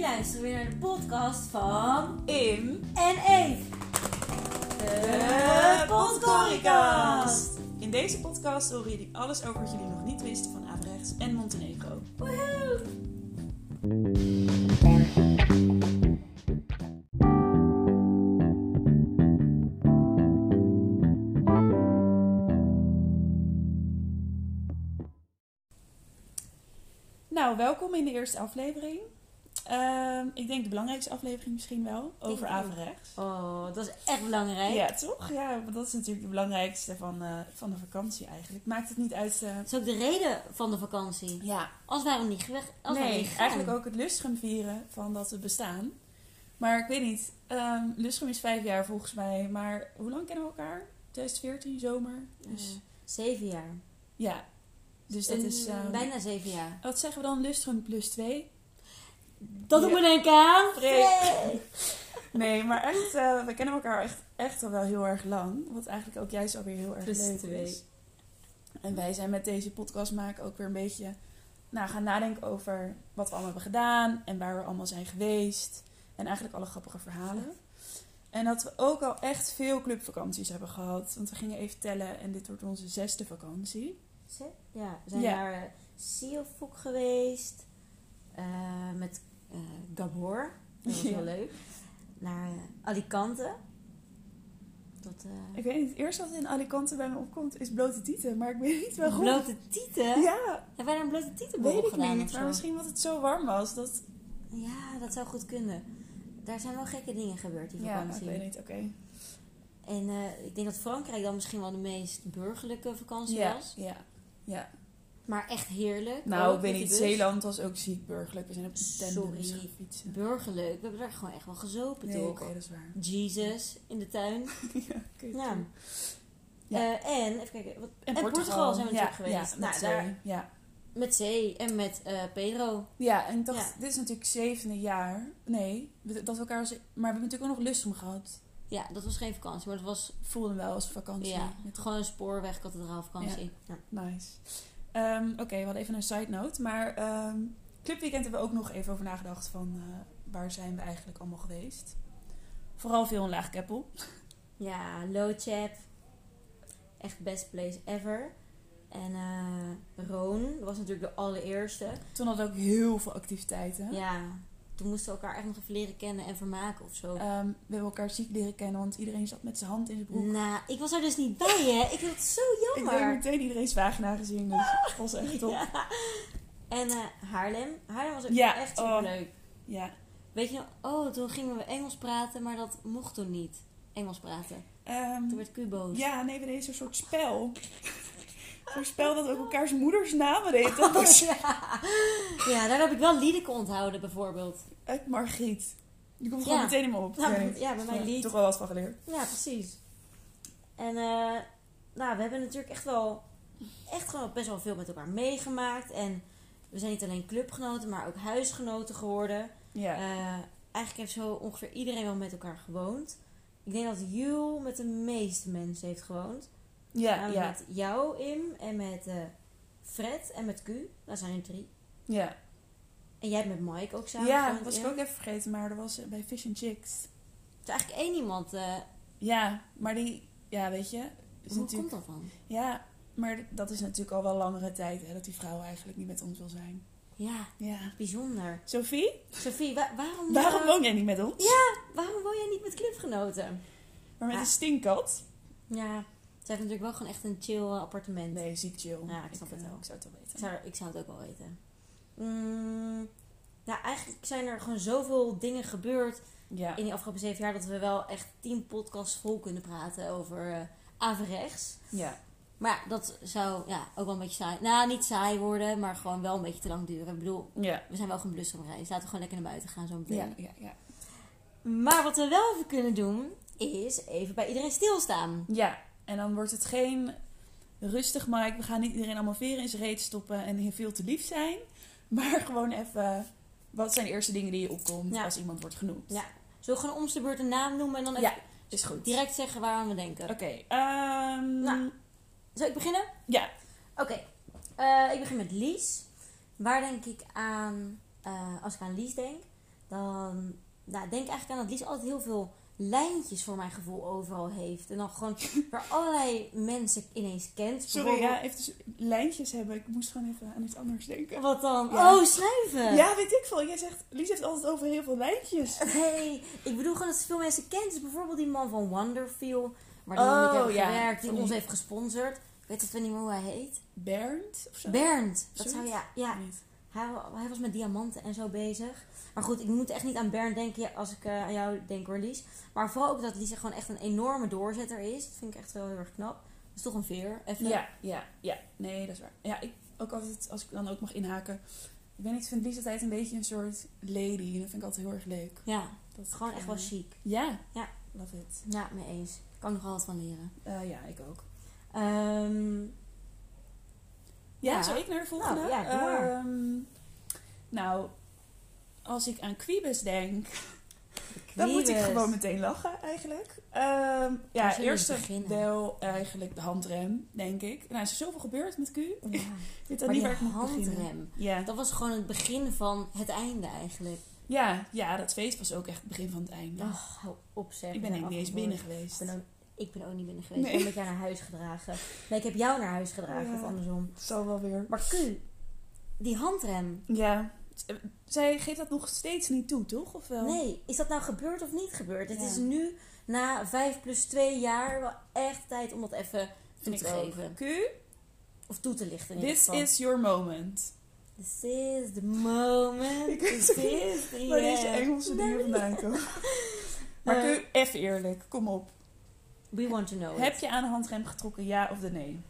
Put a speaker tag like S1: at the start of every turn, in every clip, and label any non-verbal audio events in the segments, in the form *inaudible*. S1: luisteren weer naar de podcast van
S2: Im
S1: En Eet. De podcast.
S2: In deze podcast horen jullie alles over wat jullie nog niet wisten van Averechts en Montenegro.
S1: Woehoe.
S2: Nou, welkom in de eerste aflevering. Ehm, ik denk de belangrijkste aflevering misschien wel, over
S1: Denk ik ook.
S2: Averechts.
S1: Oh, dat is echt belangrijk.
S2: Ja, toch? Ja, want dat is natuurlijk de belangrijkste van, eh, van de vakantie eigenlijk. Maakt het niet uit... eh,
S1: Dat is ook de reden van de vakantie.
S2: ja,
S1: Als wij om niet geweest als wij
S2: nee,
S1: niet gaan.
S2: eigenlijk ook het lustrum vieren van dat we bestaan. Maar ik weet niet, ehm lustrum is vijf jaar volgens mij. Maar hoe lang kennen we elkaar? 2014, zomer. Dus,
S1: Eh, zeven jaar.
S2: Ja, dus dat
S1: Een-
S2: is... ehm,
S1: bijna zeven jaar.
S2: Wat zeggen we dan? Lustrum plus 2?
S1: Dat doet
S2: Ja.
S1: me denken aan.
S2: Freek.
S1: Freek.
S2: Nee, maar echt, eh, we kennen elkaar echt, echt al wel heel erg lang. Wat eigenlijk ook juist alweer heel erg
S1: Plus
S2: leuk
S1: twee.
S2: is. En wij zijn met deze podcast maken ook weer een beetje nou, gaan nadenken over wat we allemaal hebben gedaan en waar we allemaal zijn geweest. En eigenlijk alle grappige verhalen. En dat we ook al echt veel clubvakanties hebben gehad. Want we gingen even tellen en dit wordt onze zesde vakantie.
S1: Ze- Ja, we zijn
S2: Ja.
S1: naar eh, Siofok geweest. eh, met eh, Gabor. Dat was
S2: Ja.
S1: heel leuk. Naar eh, Alicante. Tot, eh
S2: Ik weet niet, het eerste wat in Alicante bij me opkomt is blote tieten. Maar ik weet niet waarom.
S1: blote tieten.
S2: Ja,
S1: Hebben wij daar een blote tietenborrel
S2: Weet ik
S1: gedaan
S2: niet,
S1: of
S2: maar
S1: zo?
S2: misschien omdat het zo warm was. Dat...
S1: Ja, dat zou goed kunnen. Daar zijn wel gekke dingen gebeurd die
S2: Ja, ik
S1: vakantie.
S2: weet niet, oké.
S1: en eh, ik denk dat Frankrijk dan misschien wel de meest burgerlijke vakantie
S2: Ja,
S1: was.
S2: ja, ja.
S1: Maar echt heerlijk.
S2: Nou,
S1: Ook
S2: ik weet
S1: met die
S2: niet,
S1: bus.
S2: Zeeland was ook ziek burgerlijk. We zijn op de tendens
S1: Sorry.
S2: gaan fietsen.
S1: Burgerlijk. We hebben daar gewoon echt wel gezopen,
S2: Nee,
S1: toch?
S2: oké, dat is
S1: *laughs*
S2: waar.
S1: Jesus in de tuin.
S2: ja, kut.
S1: Ja.
S2: Ja.
S1: Eh, en, even kijken, wat, en Portugal zijn we
S2: ja,
S1: natuurlijk geweest.
S2: Ja,
S1: Nou,
S2: met
S1: daar-
S2: zee, ja.
S1: met Zee en met eh, Pedro.
S2: ja, en ik dacht,
S1: Ja.
S2: dit is natuurlijk zevende jaar. Nee, we- dat we elkaar... als- Maar we hebben natuurlijk ook nog lust om gehad.
S1: Ja, dat was geen vakantie, maar dat was
S2: Voelde wel als vakantie.
S1: ja,
S2: Met-
S1: gewoon een spoorwegkathedraal vakantie. Ja.
S2: Nice. Ehm, Oké, we hadden even een side note. Maar ehm clubweekend hebben we ook nog even over nagedacht van eh, waar zijn we eigenlijk allemaal geweest. Vooral veel in Laagkeppel.
S1: Ja, low chap. Echt best place ever. En eh, Roon was natuurlijk de allereerste.
S2: Toen hadden we ook heel veel
S1: Ja.
S2: activiteiten.
S1: toen moesten we elkaar echt nog even leren kennen en vermaken of zo.
S2: Ehm, we hebben elkaar ziek leren kennen, want iedereen zat met zijn hand in zijn broek.
S1: nou, ik was er dus niet bij, hè. Ik vind het zo
S2: Ik
S1: jammer.
S2: heb meteen iedereen's vagina gezien, dus dat was echt top. Ja.
S1: Ah! *laughs* Ja. En eh, Haarlem. Haarlem was ook
S2: Ja,
S1: echt
S2: oh.
S1: superleuk. Weet je, nog- oh, toen gingen we Engels praten, maar dat mocht toen niet. Engels praten.
S2: Ehm,
S1: Toen werd Cubo's. *laughs*
S2: ja, nee, we deden een soort spel. Zo'n spel dat ook elkaars moeders namen deed. Dat
S1: Oh,
S2: was
S1: ja. ja, daar heb ik wel Liedeke onthouden, bijvoorbeeld.
S2: Uit Margriet. Je komt gewoon
S1: Ja.
S2: meteen in me op.
S1: Nou,
S2: Ik weet niet.
S1: ja, bij mij
S2: Ik heb
S1: lied.
S2: Toch wel wat van geleerd.
S1: Ja, precies. En eh, nou, we hebben natuurlijk echt wel echt gewoon best wel veel met elkaar meegemaakt. En we zijn niet alleen clubgenoten, maar ook huisgenoten geworden.
S2: Ja.
S1: Eh, eigenlijk heeft zo ongeveer iedereen wel met elkaar gewoond. Ik denk dat Jules met de meeste mensen heeft gewoond.
S2: ja,
S1: Namelijk
S2: ja,
S1: Met jou, Im, en met eh, Fred en met Q. Dat zijn er drie.
S2: ja.
S1: En jij hebt met Mike ook samen
S2: Ja,
S1: gewoond,
S2: dat was ik
S1: Im.
S2: ook even vergeten, maar er was eh, bij Fish and Chicks.
S1: Er is Dus eigenlijk één iemand. eh,
S2: Ja, maar die, ja, weet je. Is
S1: hoe komt
S2: natuurlijk,
S1: dat dan?
S2: Ja, maar dat is natuurlijk al wel langere tijd, hè, dat die vrouw eigenlijk niet met ons wil zijn.
S1: Ja,
S2: Ja.
S1: bijzonder.
S2: Sophie,
S1: Sophie, wa- waarom...
S2: waarom
S1: eh,
S2: woon jij niet met ons?
S1: Ja, waarom woon jij niet met clubgenoten?
S2: Maar met
S1: Ah.
S2: een stinkkat?
S1: Ja, ze heeft natuurlijk wel gewoon echt een chill eh, appartement.
S2: Nee, ziek chill.
S1: Ja, ik snap het
S2: eh,
S1: wel.
S2: Ik zou het wel weten.
S1: Ik, zou, ik zou het ook wel weten. Mm, nou, eigenlijk zijn er gewoon zoveel dingen gebeurd
S2: Ja.
S1: in die afgelopen zeven jaar... dat we wel echt tien podcasts vol kunnen praten over eh averechts.
S2: ja.
S1: Maar ja, dat zou ja, ook wel een beetje saai... Nou, niet saai worden, maar gewoon wel een beetje te lang duren. Ik bedoel,
S2: Ja.
S1: we zijn wel gaan blussen om reis. Laten we gewoon lekker naar buiten gaan zo meteen.
S2: Ja, ja, ja.
S1: Maar wat we wel even kunnen doen, is even bij iedereen stilstaan.
S2: Ja, en dan wordt het geen rustig Mike. We gaan niet iedereen allemaal veren in zijn reet stoppen en heel veel te lief zijn. *laughs* Maar gewoon even, wat zijn de eerste dingen die je opkomt
S1: Ja.
S2: als iemand wordt genoemd?
S1: Ja. Zullen we gewoon om de beurt een naam noemen en dan even
S2: Ja, is goed.
S1: direct zeggen waar we aan we denken?
S2: Oké, ehm,
S1: Nou. Zal ik beginnen?
S2: ja.
S1: Oké. Eh, ik begin met Lies. Waar denk ik aan, eh, als ik aan Lies denk? dan nou, ik denk eigenlijk aan dat Lies altijd heel veel lijntjes voor mijn gevoel overal heeft. En dan
S2: *laughs*
S1: gewoon waar allerlei mensen ineens kent.
S2: Sorry, ja, even tussen- lijntjes hebben. Ik moest gewoon even aan iets anders denken.
S1: Wat dan?
S2: Ja.
S1: Oh, schuiven!
S2: Ja, weet ik veel. Jij zegt, Lies heeft altijd over heel veel lijntjes.
S1: Nee, ik bedoel gewoon dat ze veel mensen kent. Dus bijvoorbeeld die man van Wonderfeel, waar die man
S2: Oh,
S1: ik heb
S2: ja.
S1: gewerkt, die
S2: Van die-
S1: ons heeft gesponsord. Ik weet even niet meer hoe hij heet.
S2: Bernd of zo?
S1: Bernd. Dat zou
S2: Zoiets?
S1: ja, ja.
S2: Niet.
S1: Hij, wa- hij was met diamanten en zo bezig. Maar goed, ik moet echt niet aan Bernd denken ja, als ik eh, aan jou denk hoor, Lies. Maar vooral ook dat Lies gewoon echt een enorme doorzetter is. Dat vind ik echt wel heel erg knap. Dat is toch een veer. Even.
S2: Ja, ja, ja. Nee, dat is waar. Ja, ik ook altijd, als ik dan ook mag inhaken. Ik weet niet, ik vind Lies altijd een beetje een soort lady. En dat vind ik altijd heel erg leuk.
S1: Ja,
S2: Dat
S1: gewoon
S2: ik,
S1: echt
S2: eh,
S1: wel chic.
S2: Ja.
S1: Ja.
S2: Love it.
S1: Ja, mee eens. Kan ik nog altijd van leren.
S2: Eh, ja, ik ook.
S1: Ehm,
S2: Ja,
S1: Ja.
S2: zou ik naar de volgende?
S1: Nou, ja, doe maar.
S2: Ehm, nou, als ik aan Quibus denk, dan
S1: Quibus.
S2: moet ik gewoon meteen lachen eigenlijk. Ehm,
S1: Waar
S2: ja,
S1: zullen we
S2: eerst
S1: beginnen?
S2: wel eigenlijk de handrem, denk ik. Nou, is er zoveel gebeurd met Q. Ik *laughs*
S1: Ja. Maar
S2: weet dan niet
S1: die
S2: waar ik moet beginnen.
S1: handrem.
S2: Ja.
S1: Dat was gewoon het begin van het einde eigenlijk.
S2: Ja, ja, dat feest was ook echt het begin van het einde.
S1: Oh, hou op zeg.
S2: ik ben eigenlijk niet eens binnen geweest.
S1: Ik ben, ook, ik ben ook niet binnen geweest.
S2: Nee.
S1: Ik ben met jou naar huis gedragen. Nee, ik heb jou naar huis gedragen
S2: Ja.
S1: of andersom.
S2: Het zal wel weer.
S1: Maar Q, die handrem.
S2: Ja. Zij geeft dat nog steeds niet toe, toch? Of wel?
S1: Nee, is dat nou gebeurd of niet gebeurd? Het
S2: Ja.
S1: is nu na 5 plus 2 jaar wel echt tijd om dat even toe
S2: Vind
S1: te
S2: ik ook.
S1: geven.
S2: Q,
S1: Of toe te lichten in ieder
S2: this
S1: geval.
S2: is your moment.
S1: This is the moment.
S2: Ik
S1: This
S2: weet niet
S1: is the
S2: Waar deze
S1: end.
S2: Engelse dingen vandaan
S1: *laughs*
S2: komen. Maar
S1: Eh, Oh,
S2: Q, even eerlijk, kom op.
S1: We want to know
S2: Heb
S1: it.
S2: je aan de handrem getrokken, ja of de nee?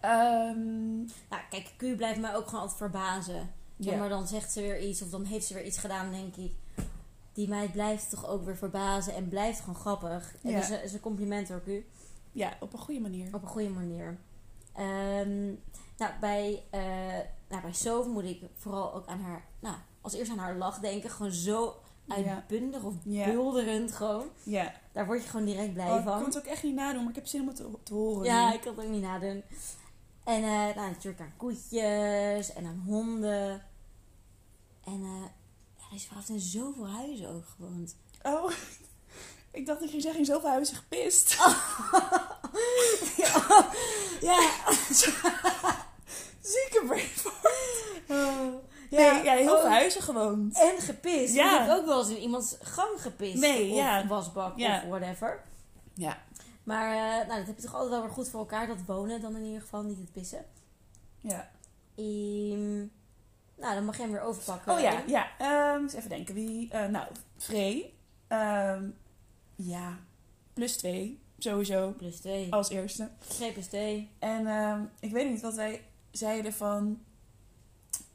S2: Ehm,
S1: Nou, kijk, Q blijft mij ook gewoon altijd verbazen.
S2: ja.
S1: Ja, maar dan zegt ze weer iets of dan heeft ze weer iets gedaan, denk ik. Die meid blijft toch ook weer verbazen en blijft gewoon grappig. En
S2: Ja.
S1: dus eh, is een compliment hoor, Q.
S2: ja, op een goede manier.
S1: Op een goede manier. Ehm, nou, bij, eh nou, bij Sof moet ik vooral ook aan haar... Nou, als eerst aan haar lach denken. Gewoon zo
S2: Ja.
S1: uitbundig of
S2: Ja.
S1: bulderend gewoon.
S2: Ja.
S1: Daar word je gewoon direct blij
S2: Oh, ik
S1: van.
S2: kan het ook echt niet nadoen, maar ik heb zin om het te, te horen.
S1: Ja,
S2: nu.
S1: ik kan het ook niet nadoen. En eh, nou, natuurlijk aan koetjes en aan honden. En eh ja, deze vrouw heeft in zoveel huizen ook gewoond.
S2: Oh, *laughs* ik dacht dat je zeggen, in zoveel huizen gepist. *laughs*
S1: Ja,
S2: Zieke brainfart.
S1: ja.
S2: Nee, ja, heel
S1: Oh.
S2: veel huizen gewoond.
S1: en gepist.
S2: Ja.
S1: Ik heb ook wel eens in iemands gang gepist.
S2: Nee,
S1: of
S2: ja.
S1: wasbak
S2: Ja.
S1: of whatever.
S2: Ja.
S1: Maar eh, nou, dat heb je toch altijd wel weer goed voor elkaar. Dat wonen dan in ieder geval, niet het pissen.
S2: Ja.
S1: Ehm, nou, dan mag jij hem weer overpakken.
S2: Oh ja, ja. Ehm, eens even denken, wie? eh, nou, Free. Ehm, ja, plus twee, sowieso.
S1: Plus twee.
S2: Als eerste.
S1: 2 plus twee.
S2: En ehm, ik weet niet wat wij zeiden van.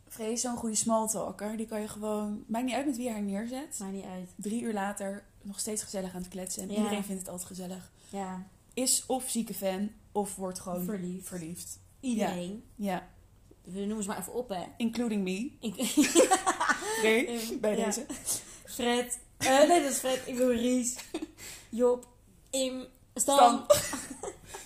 S2: Free is zo'n goede smalltalker. Die kan je gewoon. Maakt niet uit met wie je haar neerzet.
S1: Maakt niet uit.
S2: Drie uur later nog steeds gezellig aan het kletsen. En
S1: Ja.
S2: iedereen vindt het altijd gezellig.
S1: Ja,
S2: Is of zieke fan of wordt gewoon
S1: verliefd.
S2: verliefd.
S1: Iedereen.
S2: Ja,
S1: We noemen ze maar even op, hè.
S2: including me.
S1: Ik,
S2: *laughs* Free, *laughs* bij
S1: Ja.
S2: deze.
S1: Fred. Eh, nee, dat is Fred. Ik bedoel
S2: *laughs*
S1: Ries. Job. Im. Stan.
S2: Stan. *laughs*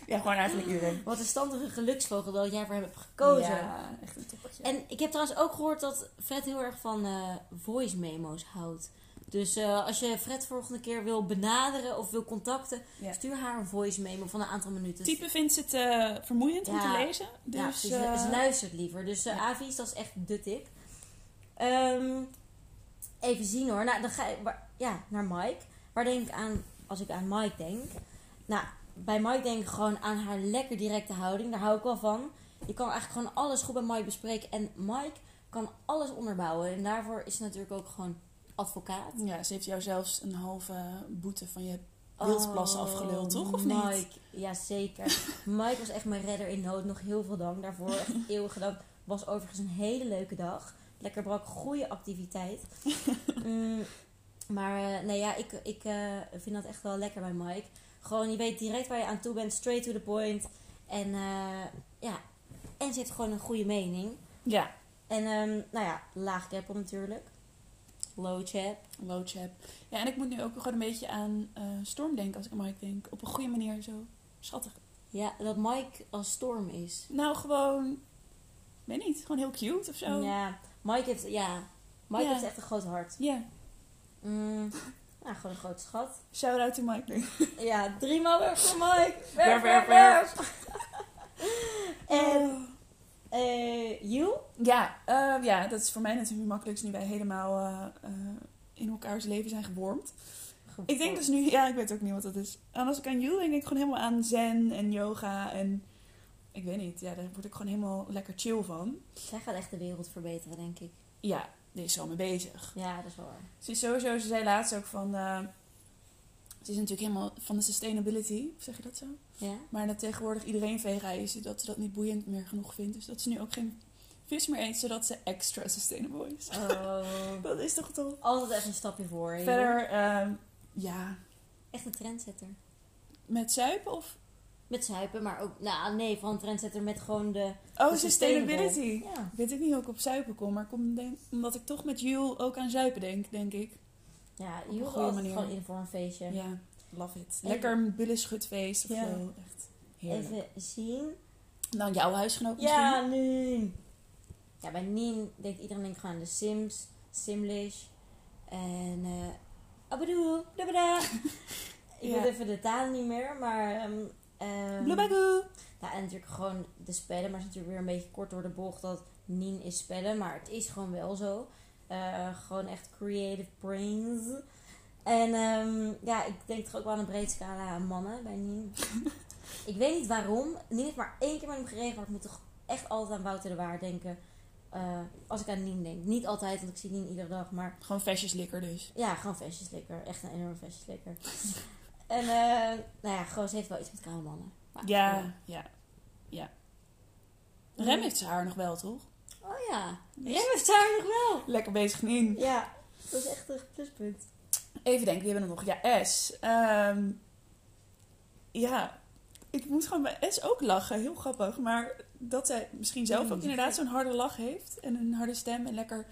S2: Ja, gewoon eigenlijk iedereen.
S1: Wat een standige geluksvogel dat jij voor hem hebt gekozen.
S2: Ja, echt een toppertje.
S1: En ik heb trouwens ook gehoord dat Fred heel erg van eh, voice memo's houdt. Dus eh, als je Fred volgende keer wil benaderen of wil contacten,
S2: Ja.
S1: stuur haar een voice memo van een aantal minuten.
S2: Type vindt het eh, vermoeiend om te
S1: Dus- Ja.
S2: lezen. Dus,
S1: ja, ze,
S2: eh,
S1: ze luistert liever. Dus eh,
S2: ja.
S1: Avi's, dat is echt de tip. Ehm, even zien hoor. Nou, dan ga ik waar- ja, naar Mike. Waar denk ik aan als ik aan Mike denk? Nou, bij Mike denk ik gewoon aan haar lekker directe houding. Daar hou ik wel van. Je kan eigenlijk gewoon alles goed bij Mike bespreken. En Mike kan alles onderbouwen. En daarvoor is ze natuurlijk ook gewoon advocaat.
S2: ja, ze heeft jou zelfs een halve boete van je
S1: Oh,
S2: wildplassen afgeluld, toch? Of niet?
S1: Mike, ja zeker.
S2: *laughs*
S1: Mike was echt mijn redder in nood. Nog heel veel dank daarvoor. Echt eeuwige dank. Was overigens een hele leuke dag. Lekker brak, goede
S2: *laughs*
S1: activiteit. Mm, maar eh, nee, ja, ik, ik eh, vind dat echt wel lekker bij Mike. Gewoon, je weet direct waar je aan toe bent. Straight to the point. En eh, ja, en ze heeft gewoon een goede mening.
S2: Ja,
S1: En ehm, nou ja, laag keppel natuurlijk. Low chap.
S2: low chap. Ja, en ik moet nu ook gewoon een beetje aan eh, Storm denken als ik aan Mike denk. Op een goede manier zo. Schattig.
S1: Ja, dat Mike als storm is.
S2: Nou, gewoon... Weet niet, gewoon heel cute of zo.
S1: Ja, Mike heeft, ja, Mike
S2: Ja.
S1: heeft echt een groot hart.
S2: Ja,
S1: Mm, nou, gewoon een groot schat.
S2: shout out to Mike nu.
S1: Ja, drie maal werk voor Mike. Werk,
S2: Werf,
S1: werk,
S2: werf,
S1: werk. *laughs*
S2: Oh.
S1: En eh you?
S2: Ja, eh, ja, dat is voor mij natuurlijk het makkelijkst nu wij helemaal eh, eh, in elkaars leven zijn gewormd. Ik denk dus nu, ja, ik weet ook niet wat dat is. En als ik aan you denk, denk ik gewoon helemaal aan zen en yoga en ik weet niet, ja, daar word ik gewoon helemaal lekker chill van.
S1: Zij gaat echt de wereld verbeteren, denk ik.
S2: Ja, die is al mee bezig.
S1: Ja, dat is wel waar.
S2: Ze is sowieso, ze zei laatst ook van, eh, ze is natuurlijk helemaal van de sustainability, zeg je dat zo?
S1: Ja?
S2: Maar dat tegenwoordig iedereen vega is, dat ze dat niet boeiend meer genoeg vindt. Dus dat ze nu ook geen vis meer eet, zodat ze extra sustainable is.
S1: Oh,
S2: Dat is toch tof?
S1: altijd even een stapje voor. joh.
S2: Verder, ehm, ja,
S1: Echt een trendsetter.
S2: met zuipen of...
S1: Met zuipen, maar ook... Nou, nee, van trendsetter met gewoon de...
S2: Oh,
S1: de
S2: sustainability.
S1: Ja.
S2: Ik weet ook niet hoe ik op zuipen kom, maar ik kom denk, omdat ik toch met Jules ook aan zuipen denk, denk ik.
S1: Ja,
S2: een
S1: je
S2: goede
S1: hoort altijd
S2: manier.
S1: gewoon in voor een feestje.
S2: Ja, love it. Lekker een bullenschutfeest of
S1: Ja.
S2: zo. Echt heerlijk.
S1: Even zien.
S2: Dan jouw huisgenoot
S1: Ja,
S2: misschien?
S1: nu. Ja, bij Nien denkt iedereen denkt gewoon aan de Sims, Simlish en eh abadoe, dabada. *laughs* Ik
S2: Ja.
S1: weet even de taal niet meer, maar... ehm ehm,
S2: Bloebagoe.
S1: ja, en natuurlijk gewoon de spellen, maar het is natuurlijk weer een beetje kort door de bocht dat Nien is spellen, maar het is gewoon wel zo. Eh, gewoon echt creative brains. En ehm, ja, ik denk toch ook wel aan een breed scala aan mannen bij
S2: *laughs*
S1: Nien. ik weet niet waarom. Nien heeft maar één keer met hem gereden, maar ik moet toch echt altijd aan Wouter de Waar denken. eh, als ik aan Nien denk. Niet altijd, want ik zie Nien iedere dag, maar
S2: Gewoon vestjeslikker dus.
S1: ja, gewoon vestjeslikker. Echt een enorme vestjeslikker.
S2: *laughs*
S1: en eh, nou ja, gewoon, ze heeft wel iets met koude mannen. Maar,
S2: Ja, ja, ja. Rem heeft zijn haar nog wel, toch?
S1: Oh ja, Rem heeft haar nog wel.
S2: Lekker bezig, Nien.
S1: Ja, dat is echt een pluspunt.
S2: Even denken, wie hebben we nog? Ja, S. Ehm, ja, ik moet gewoon bij S ook lachen. Heel grappig. Maar dat zij misschien zelf ook inderdaad zo'n harde lach heeft. En een harde stem en lekker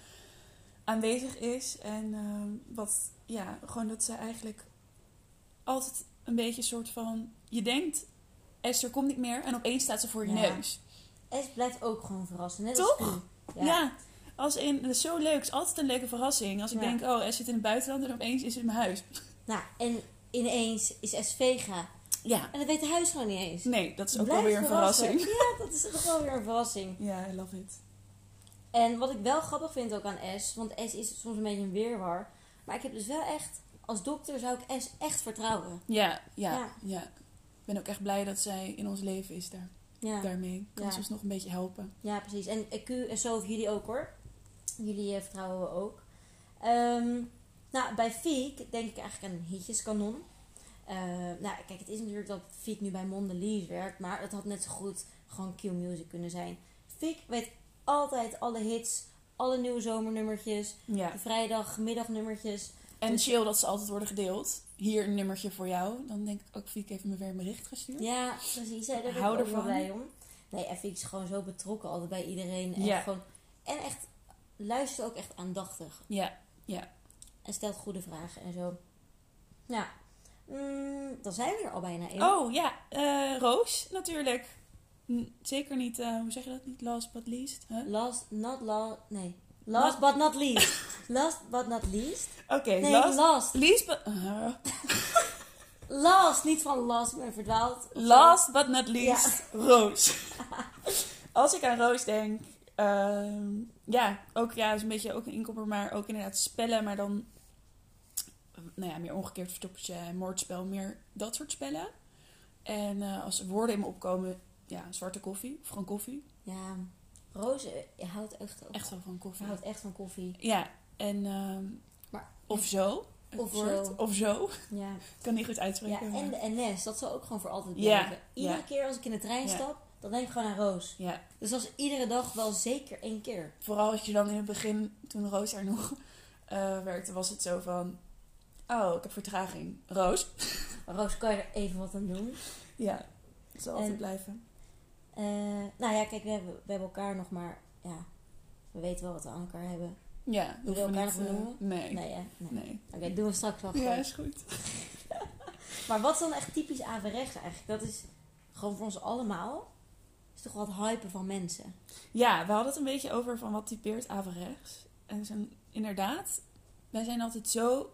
S2: aanwezig is. En ehm, wat, ja, gewoon dat ze eigenlijk altijd een beetje soort van... Je denkt, Esther komt niet meer. En opeens staat ze voor je
S1: Ja.
S2: neus.
S1: Es blijft ook gewoon verrassen, net als
S2: Toch?
S1: Pien.
S2: Ja. Als in, dat is zo leuk. Het is altijd een leuke verrassing. Als ik
S1: Ja.
S2: denk, oh, Esther zit in het buitenland en opeens is ze in mijn huis.
S1: Nou, en ineens is Es vega.
S2: Ja.
S1: En dat weet de huis gewoon niet eens.
S2: Nee, dat is ook
S1: Blijf
S2: wel weer een
S1: verrassen.
S2: verrassing.
S1: Ja, dat is toch wel weer een verrassing.
S2: *laughs* Ja, I love it.
S1: En wat ik wel grappig vind ook aan S, want S is soms een beetje een weerwar. Maar ik heb dus wel echt, als dokter zou ik S echt vertrouwen.
S2: Ja, ja,
S1: Ja.
S2: ja. Ik ben ook echt blij dat zij in ons leven is daar,
S1: Ja,
S2: daarmee. Kan
S1: Ja.
S2: ze ons nog een beetje helpen.
S1: ja precies. En eh, Q en zo of jullie ook hoor. Jullie eh, vertrouwen we ook. Ehm, nou, bij Fiek denk ik eigenlijk aan een hitjeskanon. Eh, nou, kijk, het is natuurlijk dat Fiek nu bij Mondelez werkt, maar het had net zo goed gewoon Q Music kunnen zijn. Fiek weet altijd alle hits, alle nieuwe zomernummertjes,
S2: Ja.
S1: de vrijdagmiddagnummertjes.
S2: En
S1: Dus-
S2: chill dat ze altijd worden gedeeld. Hier een nummertje voor jou. Dan denk ik ook, Fiek heeft me weer een bericht gestuurd.
S1: Ja, precies. Hè, daar ben ik
S2: Hou
S1: ook wel
S2: ervan.
S1: blij om. Nee, en Fiek is gewoon zo betrokken altijd bij iedereen. En,
S2: Ja.
S1: gewoon, en echt luistert ook echt aandachtig.
S2: Ja.
S1: En stelt goede vragen en zo. Ja, Mm, dan zijn we er al bijna in.
S2: Oh ja, eh, Roos natuurlijk. Hm, Zeker niet, eh, hoe zeg je dat niet? Last but least. Huh?
S1: Last, not last, nee. Last but not least. *laughs* Last but not least.
S2: Oké,
S1: Nee, last.
S2: last.
S1: Last,
S2: Least but, eh,
S1: niet van last, maar verdwaald.
S2: Last but not least,
S1: *laughs*
S2: Roos. Als ik aan Roos denk, ehm, ja, ook ja, is een beetje ook een inkopper, maar ook inderdaad spellen, maar dan, nou ja, meer omgekeerd verstoppertje, en moordspel, meer dat soort spellen. En eh, als er woorden in me opkomen, ja, zwarte koffie, of gewoon koffie,
S1: Ja, Roos eh, je houdt echt,
S2: echt wel van
S1: Ze
S2: koffie.
S1: houdt echt van koffie.
S2: Ja, en ehm,
S1: Maar-
S2: of zo, een
S1: Of
S2: woord,
S1: zo.
S2: of zo, *laughs*
S1: Ja.
S2: Ik kan niet goed
S1: ja,
S2: uitspreken.
S1: en
S2: maar-
S1: de NS, dat zal ook gewoon voor altijd
S2: Ja,
S1: blijven. Iedere
S2: ja.
S1: keer als ik in de trein
S2: Ja.
S1: stap, dan denk ik gewoon aan Roos.
S2: ja,
S1: Dus dat is iedere dag wel zeker één keer.
S2: vooral als je dan in het begin, toen Roos daar nog eh, werkte, was het zo van... Oh, ik heb vertraging. Roos?
S1: Maar Roos, kan je er even wat aan doen?
S2: Ja, het zal altijd
S1: En-
S2: blijven.
S1: Eh, nou ja, kijk, we hebben, we hebben elkaar nog maar... Ja, we weten wel wat we aan elkaar hebben.
S2: Ja, dat
S1: Wil je
S2: hoeven we
S1: elkaar nog
S2: niet... eh,
S1: benoemen?
S2: nee. nee.
S1: Nee, hè? Nee. Oké, doen we straks wel
S2: Ja,
S1: gewoon.
S2: is goed.
S1: Maar wat is dan echt typisch averechts eigenlijk? Dat is gewoon voor ons allemaal... is toch wat hypen van mensen.
S2: Ja, we hadden het een beetje over van wat typeert averechts. en zijn, inderdaad, wij zijn altijd zo.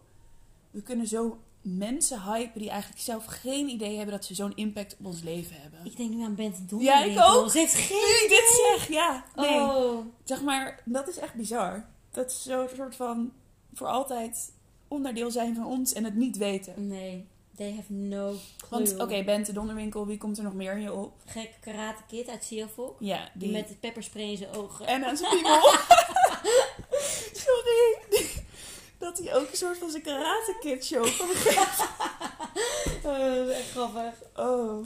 S2: We kunnen zo mensen hypen die eigenlijk zelf geen idee hebben dat ze zo'n impact op ons leven hebben.
S1: Ik denk nu aan Bent Donner.
S2: Ja, ik ook.
S1: Ze heeft geen...
S2: Nu ik dit zeg, ja. Nee.
S1: Oh.
S2: Zeg maar, dat is echt bizar. Dat ze zo'n soort van voor altijd onderdeel zijn van ons en het niet weten.
S1: Nee. They have no clue.
S2: Want oké, Bente Donderwinkel, wie komt er nog meer in je op?
S1: Gek karate kid uit Seattle.
S2: Ja,
S1: Die
S2: die.
S1: met het pepperspray in zijn ogen.
S2: En aan zijn
S1: *laughs*
S2: piemel. Sorry. *laughs* Dat hij ook een soort van zijn karate kid show van
S1: Oh, dat is echt grappig.
S2: *laughs* Oh.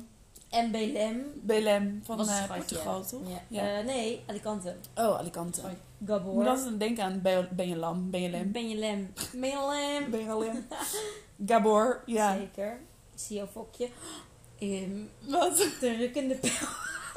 S1: En Belem.
S2: Belém van
S1: E Was
S2: eh,
S1: een schatje.
S2: Portugal, toch?
S1: Ja.
S2: Ja.
S1: Eh, nee, Alicante.
S2: Oh, Alicante.
S1: Sorry.
S2: Ik moet
S1: Gabor.
S2: altijd denken aan Be- Ben je lam? Ben je lem?
S1: Ben je lem? Ben je lem?
S2: Ben je al lem? Gabor, ja.
S1: Zeker. Siofokje. Ehm,
S2: Wat?
S1: de rukkende pel...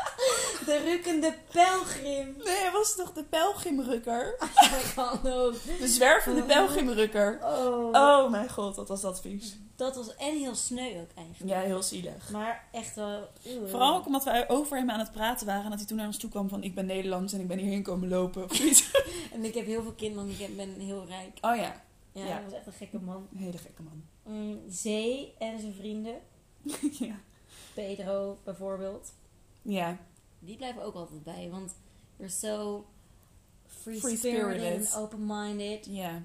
S1: *laughs* de rukkende
S2: *laughs*
S1: pelgrim.
S2: Nee, hij was toch de pelgrimrukker?
S1: Dat kan ook.
S2: De zwervende
S1: Oh.
S2: pelgrimrukker.
S1: Oh.
S2: Oh mijn god, wat was dat vies.
S1: Dat was en heel sneu ook eigenlijk.
S2: Ja, heel zielig.
S1: Maar echt wel... eeuw.
S2: Vooral ook omdat wij over hem aan het praten waren. En dat hij toen naar ons toe kwam van ik ben Nederlands en ik ben hierheen komen lopen. Of iets.
S1: En ik heb heel veel kinderen en ik ben heel rijk.
S2: *laughs* Oh ja,
S1: Ja,
S2: Ja.
S1: dat was echt een gekke man.
S2: een hele gekke man.
S1: Mm, Zee en zijn vrienden.
S2: *laughs* ja.
S1: Pedro bijvoorbeeld.
S2: Ja.
S1: Die blijven ook altijd bij. Want you're so
S2: Free-spirited.
S1: free-spirited en open-minded.
S2: Ja.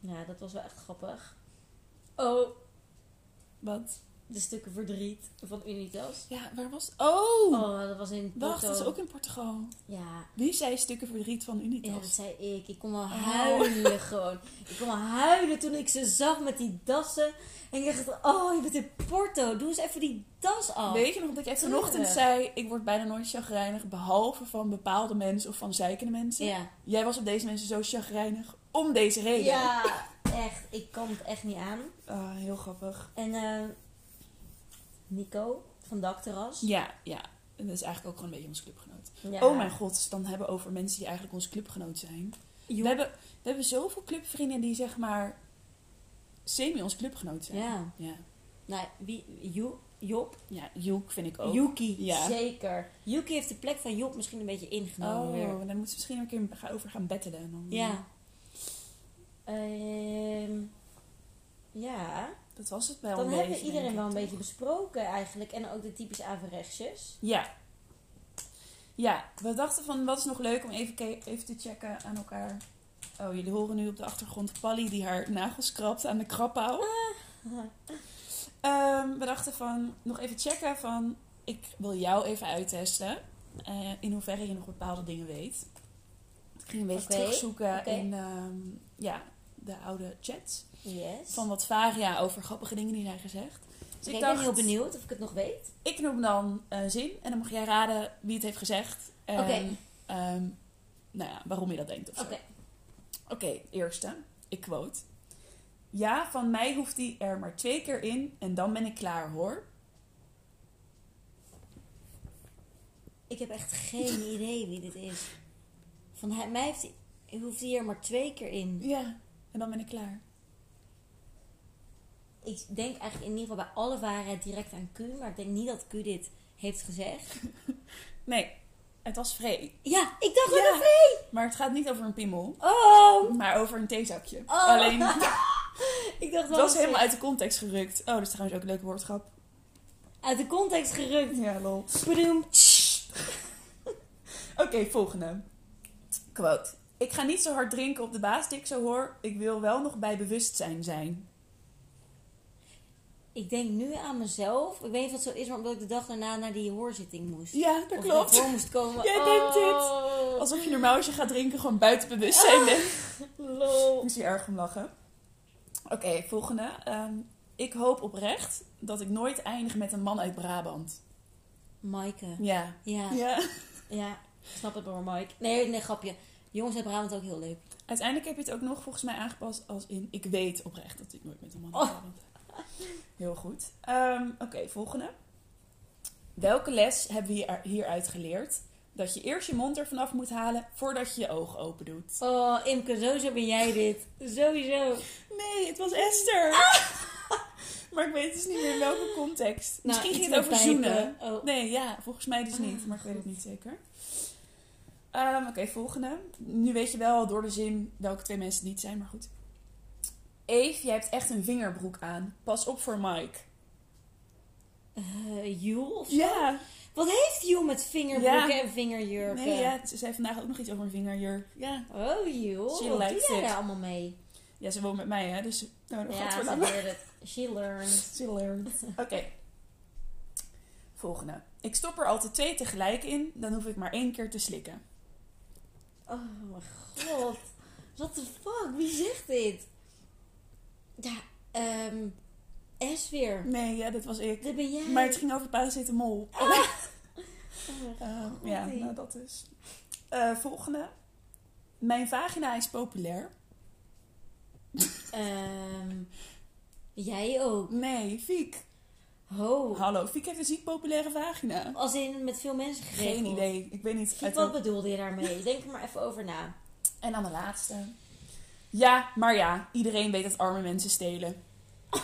S1: Ja, dat was wel echt grappig. Oh,
S2: Wat?
S1: de stukken verdriet van Unitas.
S2: Ja, waar was... Oh!
S1: Oh, dat was in
S2: Wacht, dat is
S1: Porto.
S2: ook in Portugal.
S1: Ja,
S2: Wie zei stukken verdriet van
S1: ja, dat
S2: Unitas?
S1: zei ik. Ik kon wel
S2: Oh.
S1: huilen *laughs* gewoon. Ik kon wel huilen toen ik ze zag met die dassen. En ik dacht, oh, je bent in Porto. Doe eens even die das af.
S2: Weet je nog dat ik
S1: Treurig.
S2: vanochtend zei... Ik word bijna nooit chagrijnig, behalve van bepaalde mensen of van zeikende mensen.
S1: Ja.
S2: Jij was op deze mensen zo chagrijnig om deze reden.
S1: ja, echt. Ik kan het echt niet aan.
S2: Ah, heel grappig.
S1: En eh, Nico van Dakterras.
S2: Ja, ja. En dat is eigenlijk ook gewoon een beetje ons clubgenoot.
S1: Ja.
S2: Oh mijn god, als we het dan hebben over mensen die eigenlijk ons clubgenoot zijn. We hebben, we hebben zoveel clubvrienden die zeg maar semi ons clubgenoot zijn.
S1: Ja.
S2: Ja,
S1: Nou, wie, Jo- Job.
S2: ja Joek vind ik ook.
S1: Yuki.
S2: Ja.
S1: Zeker. Yuki heeft de plek van Job misschien een beetje ingenomen
S2: Oh,
S1: Nou, weer.
S2: en dan moeten we misschien ook een keer ga- over gaan bettelen. en Dan,
S1: Ja. Ehm, ja.
S2: Dat was het wel
S1: Dan
S2: een
S1: hebben we
S2: beetje, denk
S1: iedereen
S2: ik,
S1: wel een
S2: toch?
S1: beetje besproken eigenlijk. En ook de typisch averechtsjes.
S2: Ja. Ja, we dachten van wat is nog leuk om even, ke- even te checken aan elkaar. Oh, jullie horen nu op de achtergrond Pally die haar nagels krabt aan de krabbouw.
S1: *laughs*
S2: Ehm, we dachten van nog even checken van ik wil jou even uittesten. eh, in hoeverre je nog bepaalde dingen weet. Ik ging een beetje
S1: Oké,
S2: terugzoeken
S1: oké.
S2: in ehm, ja, de oude chats.
S1: Yes.
S2: Van wat Varia over grappige dingen die zijn gezegd. Dus
S1: Dus ik ben heel benieuwd of ik het nog weet.
S2: ik noem dan een zin en dan mag jij raden wie het heeft gezegd. En,
S1: Oké.
S2: ehm, nou ja, waarom je dat denkt of
S1: Oké.
S2: zo. Oké, eerste. Ik quote. Ja, van mij hoeft die er maar twee keer in en dan ben ik klaar hoor.
S1: Ik heb echt geen *laughs* idee wie dit is. Van hij, mij heeft, hij hoeft hier maar twee keer in.
S2: Ja, en dan ben ik klaar.
S1: Ik denk eigenlijk in ieder geval bij alle waarheid direct aan Q. Maar ik denk niet dat Q dit heeft gezegd.
S2: Nee, het was vrij.
S1: Ja, ik dacht
S2: Ja.
S1: aan een V.
S2: Maar het gaat niet over een piemel,
S1: Oh.
S2: maar over een theezakje.
S1: Oh.
S2: *laughs* Alleen,
S1: *laughs* Ik dacht
S2: het
S1: wel
S2: was
S1: een
S2: helemaal uit de context gerukt. Oh, dat is trouwens ook een leuke woordschap.
S1: uit de context gerukt.
S2: Ja, lol.
S1: Bedoem.
S2: Oké, volgende. Quote. Ik ga niet zo hard drinken op de baas die ik zo hoor. Ik wil wel nog bij bewustzijn zijn.
S1: Ik denk nu aan mezelf. Ik weet niet of dat zo is, maar omdat ik de dag daarna naar die hoorzitting moest.
S2: Ja, dat
S1: Of
S2: klopt.
S1: daarvoor moest komen.
S2: Jij
S1: oh,
S2: bent dit. Alsof je normaal als je gaat drinken gewoon buiten bewustzijn bent. Ik
S1: Lol.
S2: moest hier erg om lachen. Oké, volgende. Ehm, ik hoop oprecht dat ik nooit eindig met een man uit Brabant.
S1: Maaike.
S2: Ja.
S1: Ja, ja.
S2: Ja.
S1: Snap het maar, Mike. Nee, nee, grapje. Jongens uit Brabant ook heel leuk.
S2: Uiteindelijk heb je het ook nog volgens mij aangepast als in... Ik weet oprecht dat ik nooit met een man uit
S1: Oh.
S2: Brabant heb. Heel goed. Ehm, Oké, volgende. Welke les hebben we hier- hieruit geleerd? Dat je eerst je mond ervan af moet halen voordat je je ogen open doet.
S1: Oh, Imke, sowieso ben jij dit. Sowieso. Nou,
S2: Nee, het was Esther. *laughs* maar ik weet dus niet meer in welke context.
S1: Nou,
S2: Misschien
S1: iets
S2: ging het
S1: met
S2: over
S1: pijpen.
S2: zoenen.
S1: Oh.
S2: Nee, ja, volgens mij dus niet. Maar ik weet het niet zeker. Ehm, Ehm, Oké, volgende. Nu weet je wel door de zin welke twee mensen het niet zijn, maar goed. Eve, jij hebt echt een vingerbroek aan. Pas op voor Mike.
S1: Eh Joel of zo?
S2: Ja,
S1: Wat heeft Joel met vingerbroeken
S2: Ja.
S1: en vingerjurken?
S2: nee, ja, ze zei vandaag ook nog iets over een vingerjurk. Ja.
S1: Oh Joel,
S2: She
S1: wat doe
S2: likes
S1: jij
S2: it.
S1: daar allemaal mee?
S2: ja, ze woont met mij, hè, dus... Nou, dat
S1: ja,
S2: gaat voor
S1: ze
S2: lang.
S1: leert het. She learned.
S2: Ze leert.
S1: *laughs*
S2: Oké. Volgende. Ik stop er altijd twee tegelijk in, dan hoef ik maar één keer te slikken.
S1: Oh mijn god. What the fuck? Wie zegt dit? Ja, ehm... S weer.
S2: Nee, ja, dat was ik.
S1: Dat ben jij.
S2: Maar het ging over paracetamol.
S1: Oh mijn
S2: Eh,
S1: god,
S2: ja,
S1: nee.
S2: nou dat is. Eh, volgende. Mijn vagina is populair.
S1: Ehm, jij ook.
S2: Nee, Fiek.
S1: Ho.
S2: Hallo, Fiek heeft een ziek populaire vagina.
S1: Als in met veel mensen geregeld.
S2: Geen idee. Ik weet niet.
S1: Fiek,
S2: uit
S1: Wat
S2: welk-
S1: bedoelde je daarmee? Denk er maar even over na.
S2: En dan de laatste. Ja, maar ja. Iedereen weet dat arme mensen
S1: *laughs*
S2: stelen.
S1: Oh,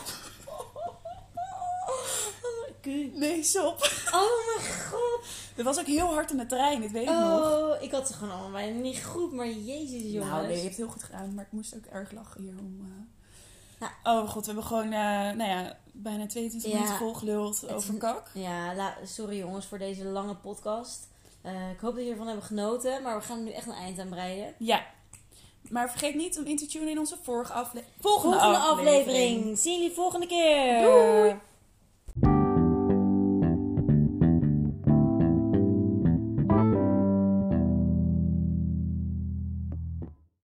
S2: Nee, sop.
S1: Oh mijn god.
S2: Dat was ook heel hard in de trein, dat weet ik nog.
S1: Oh, ik had ze gewoon allemaal bijna niet goed. Maar jezus jongens.
S2: Nou, nee, je hebt het heel goed gedaan, maar ik moest ook erg lachen hier om. eh,
S1: Nou.
S2: Oh god, we hebben gewoon eh, nou ja, bijna 22
S1: Ja.
S2: minuten volgeluld
S1: Het-
S2: over kak.
S1: Ja, la- sorry jongens voor deze lange podcast. Eh, ik hoop dat jullie ervan hebben genoten. Maar we gaan er nu echt een eind aan breiden.
S2: Ja. Maar vergeet niet om in te tunen in onze vorige afle-
S1: Volgende aflevering. Zien jullie volgende keer.
S2: Doei.